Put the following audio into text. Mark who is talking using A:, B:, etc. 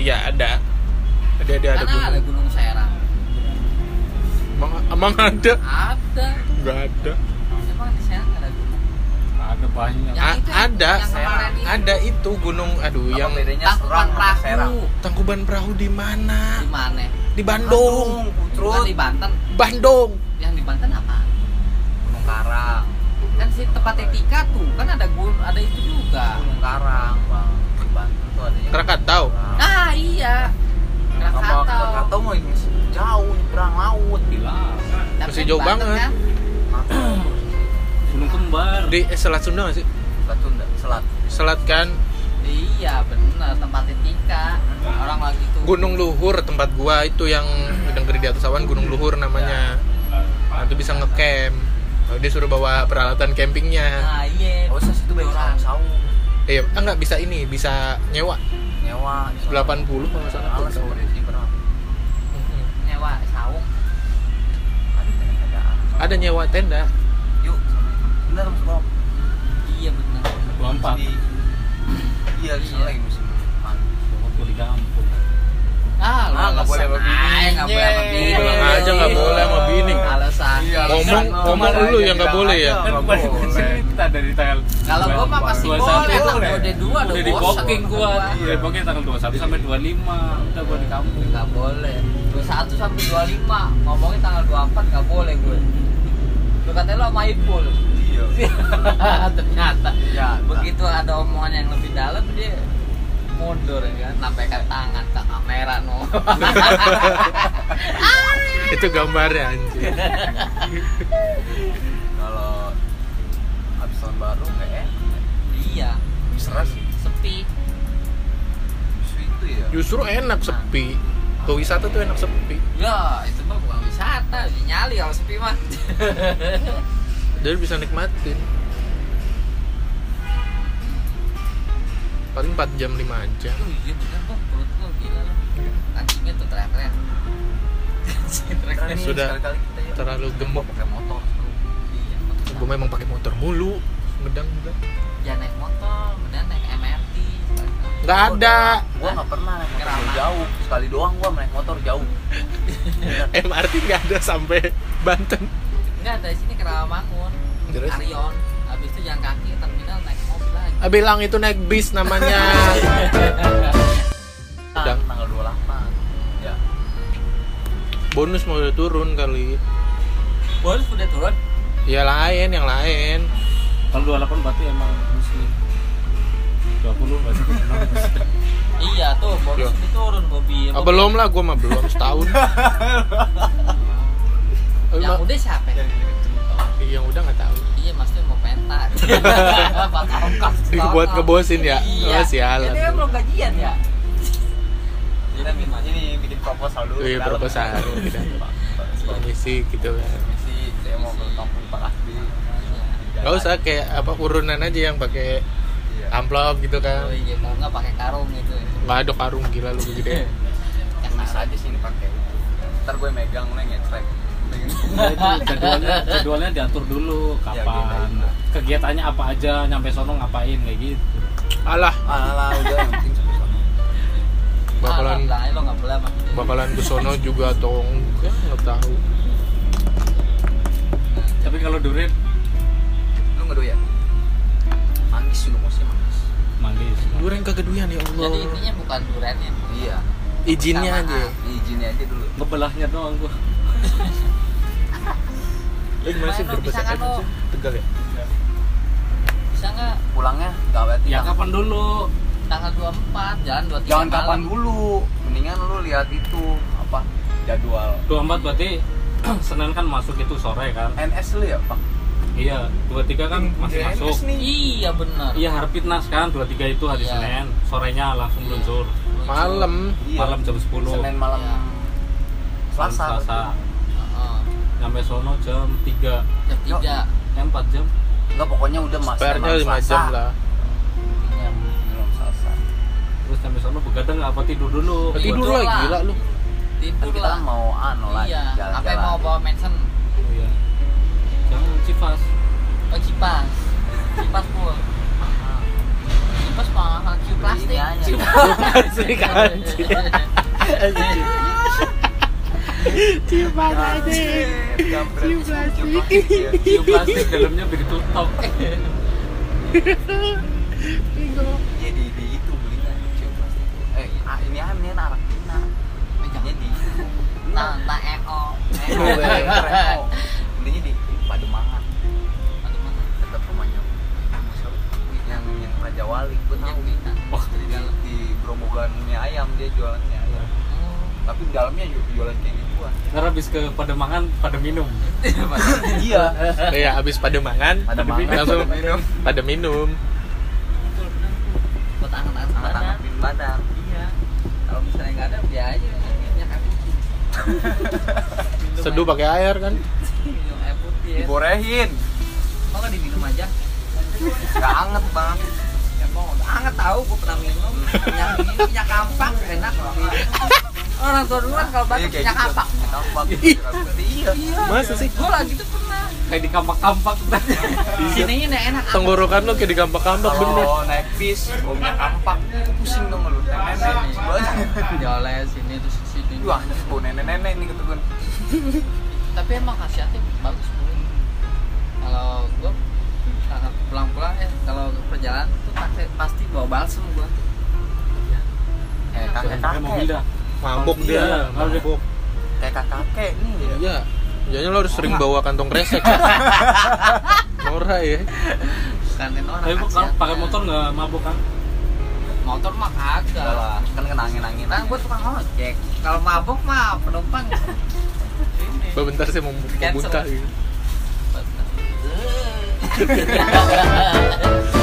A: Iya, ada ada ada
B: kan ada
A: gunung.
B: gunung Serang
A: Emang, emang ada?
B: ada
A: Nggak ada.
B: emang di Serang ada gunung
C: ada banyak
B: Yang
A: A-
B: itu, yang
A: Ah, ada,
B: kemarin itu.
A: ada itu gunung. Aduh,
D: Apa
A: yang
D: bedanya
B: tangkuban
D: Ya, Serang sama Serang?
B: perahu
A: Tangkuban Perahu di mana?
B: di mana
A: Di Bandung.
B: Bukan
D: Putrut,
B: di Banten
A: Bandung.
B: yang di Banten apa
D: Gunung Karang,
B: kan si tempatnya Tika tuh kan ada gun ada itu juga
D: Gunung Karang, Bang. Di Banten tuh adanya.
A: Krakatau.
B: nah iya
D: Sama
B: Krakatau
D: Krakatau mau yang jauh nyebrang laut
C: gila
B: Tapi
A: Masih
B: kan
A: jauh
B: Banten
A: banget.
B: kan?
C: gunung kembar
A: Di eh, Selat Sunda nggak sih?
D: Selat Sunda, Selat.
A: Selat kan
B: iya bener tempatnya Tika orang lagi tuh
A: Gunung Luhur tempat gua itu yang negeri di atas awan Gunung Luhur namanya. Nah, itu bisa ngecamp. Kalau dia suruh bawa peralatan campingnya.
B: nah iya
D: Oh, saya situ banyak
B: orang
D: orang saung,
A: Eh, enggak bisa ini, bisa nyewa
D: nyewa.
A: 80 kalau nggak salah.
D: Alas
A: tuh.
D: sama Desi pernah.
A: Mm-mm.
B: nyewa saung
D: Ada tenda-tendaan.
A: Ada nyewa tenda.
D: Yuk, bener Mas Bro.
B: iya bener
C: lompat
D: Di- Iya, di sana
B: Iya.
D: lagi musim panas.
C: waktu di kampung
B: ah lu
D: Ah, nggak boleh sama bini,
B: alasan
D: nggak boleh
B: aja.
D: sama
B: Iya.
D: bini.
A: Bilang aja nggak boleh sama bini.
B: alasan
D: Iya, alasan.
A: Ngomong ngomong
D: Bilang
A: dulu
D: aja,
A: yang nggak
D: bilang
A: boleh ya.
D: aja.
C: kan
D: Iya, nggak
C: kemarin
D: boleh.
C: cerita dari tanggal
B: Kalau gua mah pasti
C: 21.
B: boleh, lah. Gua udah dua, udah
C: udah di
B: bosen
C: booking
B: gua.
C: gua
D: Iya.
C: udah di booking tanggal 21 sampai 25 udah gua di kampung
B: nggak boleh 21 sampai 25 ngomongin tanggal 24 nggak boleh gue lu katanya lo sama Ipul
D: Iya.
B: ternyata
D: Iya.
B: begitu ada omongan yang lebih dalam dia mundur ya kan sampai ke tangan ke kamera no
A: Itu gambarnya anjir.
D: Kalau habis tahun baru nggak enak.
B: iya
D: Serah sih.
B: sepi
D: Justru itu ya.
A: Justru enak sepi. Ke wisata tuh enak sepi.
B: ya itu mah bukan wisata udah nyali kalau sepi mah
A: Jadi bisa nikmatin. Paling 4 jam 5 jam.
B: Tuh, iya bener kok perut gua gila lah kancingnya tuh teriak-teriak Kancing
D: Serah
B: teriak-teriak.
D: nih,
A: Sudah
D: sekali-kali kita ya.
A: terlalu gemuk.
D: pakai motor.
B: Iya, motor
A: Gue memang pakai motor mulu. Ngedang juga.
B: jangan naik motor kemudian naik MRT
A: Nggak ada.
D: Gua nggak pernah naik motor
B: Kerama.
D: jauh. Sekali doang gua naik motor jauh.
A: MRT nggak ada sampai Banten.
B: enggak dari sini ke Rawamangun
A: Terus?
B: Arion habis itu jalan kaki terminal naik mobil lagi
A: Bilang itu naik bis namanya.
D: Tang- Kan tanggal 28. Ya.
A: Bonus mau udah turun kali.
B: bonus udah turun
A: Ya lain, yang lain.
C: kalau 28 berarti emang muslim 20 berarti emang muslim
B: iya tuh bonus
A: Iya.
B: udah turun Bobby
A: Ah, belum lah, gue mah belum setahun. Eh,
B: yang
A: ma-
B: udah siapa
D: Iya,
B: ya?
A: yang udah nggak tahu.
B: iya maksudnya mau pentas bakal ongkos
A: Dibuat kebosin ya?
B: iya
A: Oh, sialan.
B: itu kan belum gajian ya
D: Jadi ini bikin proposal Iya. dulu.
A: Iya,
D: dalam.
A: proposal. Iya. Permisi gitu kan.
D: Permisi, saya mau ke kampung Pak Asbi.
A: Gak usah kayak apa urunan aja yang pakai
D: Iya.
A: amplop gitu
B: oh
A: kan.
B: iya kalau nggak pakai karung gitu ya.
A: Nggak ada karung gila lu gede.
D: Tulis aja sini pakai.
B: Nah,
D: Ntar gue megang lu yang ngetrek. Megang.
C: Nah, itu jadwalnya jadwalnya diatur dulu
B: Ya,
C: kapan
D: gitu.
C: kegiatannya apa aja nyampe sono ngapain kayak gitu
A: Alah,
D: Alah, udah yang penting sampai sana.
A: bakalan
B: lah lo nggak boleh sama
A: bakalan ke sono juga atau enggak nggak tahu.
C: tapi kalau durit
D: Lu ya? ngedoyan? Manis dulu mesti manis.
C: manis
A: Duren kegeduyan ya
B: jadi
A: Allah.
B: intinya bukan ya. durennya
D: Iya.
A: Izinnya
B: Sama. ah.
A: aja.
D: Izinnya aja dulu.
C: ngebelahnya doang gua
A: Eh, gimana sih
B: Main lu,
A: berbahasa
B: bisa kan
A: Edan
B: lu?
A: sih? Tegal ya?
B: bisa nggak
D: Pulangnya gak berarti.
C: ya kapan dulu
B: tanggal 24 jalan 23 malam.
D: Jangan kapan dulu. Mendingan lu lihat itu apa jadwal
C: 24 berarti Senin kan masuk itu sore kan
D: NS lu ya, Pak?
C: iya 23 kan masih
D: Iya,
C: masuk
D: NS nih.
B: iya benar
C: iya harfitnas kan 23 itu hari
B: Iya.
C: Senin sorenya langsung
B: Iya.
C: meluncur
A: Malam.
D: Iya.
C: malam jam 10
D: Senin malam
B: Iya.
D: Selasa.
C: Selasa.
B: Heeh.
C: nyampe sono jam 3
B: jam
D: Yo.
B: 3
C: eh, 4 jam
D: Enggak pokoknya udah mas.
A: Spare-nya
D: malam
A: 5
D: Selasa.
A: jam lah.
D: Iya, malam Selasa.
C: terus nyampe sono begadang apa tidur dulu
B: Iya.
A: Tidur
B: Tidur
A: lah
B: lah.
A: gila lu.
D: Kan
B: tidur
D: kita
B: lah
D: mau anu lah
B: iya sampai
D: jalan-jalan.
B: mau bawa mention
C: Oh, iya. jangan cifas
B: oh kipas kipas full kipas mahal kiu
D: Beli
B: plastik
D: ini kan, aja.
B: Kiu kan?
A: Kiu plastik, anjing.
B: Iya.
A: Cium
D: Anjir, jambret.
A: Cium plastik.
D: Cium plastik ya.
C: Cium plastik dalamnya biar ditutup.
D: Jadi Iya, di itu belinya cium plastik. Eh, ah, ini ah, ini anak Tina. Belinya di
B: Nah,
D: Nah,
B: tak eo.
D: Eo, Eo. Belinya di Pademangan. Dekat rumahnya. Kamu siapa? Yang yang Raja Wali, gue tahu.
C: Oh.
D: Jadi dia di Grobogan mie ayam dia jualannya ayam. Tapi di dalamnya ju- jualan kayak gituan.
C: Ntar habis ke pada makan, pada minum.
D: Iya.
A: Ya habis pada makan,
D: Ada
C: minum.
D: makan, ada
A: Langsung.
D: minum.
A: pada minum.
B: Buat anak-anak
D: Anak-anak
B: sekarang.
D: bin Badar.
B: Iya. Kalau misalnya nggak ada, dia aja yang minyak air putih. Minum
A: Seduh
B: air-
A: pakai air kan.
B: Minum air putih. ya.
D: Diborehin.
B: Kok nggak diminum aja? Ya,
D: Gak Iya, anget bang.
B: Emang udah anget Ah, tahu, gua pernah minum
D: Hmm.
B: minyak ini minyak kampak enak. gua minum. Orang tua dulu kan kalau
D: Iya,
B: batuk
D: kayak
B: minyak
D: gitu.
B: kampak.
D: Kampak. Iya.
B: Iya.
A: Masa sih?
B: Gua lagi tuh pernah.
C: Kayak di kampak-kampak.
D: Iya.
B: Sininya nih enak. anget.
A: Tenggorokan lu kayak dikampak-kampak bener.
D: Kalau naik bis, kalau punya kampak, pusing dong lu. Nenek-nenek.
B: Joles sini terus sini.
D: Wah, anjir, bau nenek-nenek nih ketegun.
B: tapi emang khasiatnya bagus dulu kalau gue pulang-pulang ya kalau perjalanan tuh pasti, pasti bawa balsem gue
D: Kayak
C: Kayak mobil
D: kakek-kakek.
C: dah.
A: Mabuk
C: Iya,
A: dia.
C: mabuk.
A: Mabuk.
D: Kayak kakek nih.
A: Iya. Jadinya lo harus sering bawa kantong kresek. ya. Norak ya.
B: kantin orang
C: Tapi kalau
B: khasiatnya.
C: pakai motor nggak mabuk kan?
B: motor mah kagak
D: Udah lah, kan kena angin-angin.
B: kan gue tukang ojek kalau mabuk mah penumpang ini
A: Bah, bentar saya mau mau
B: Cancel.
A: muntah gitu.
B: Bener.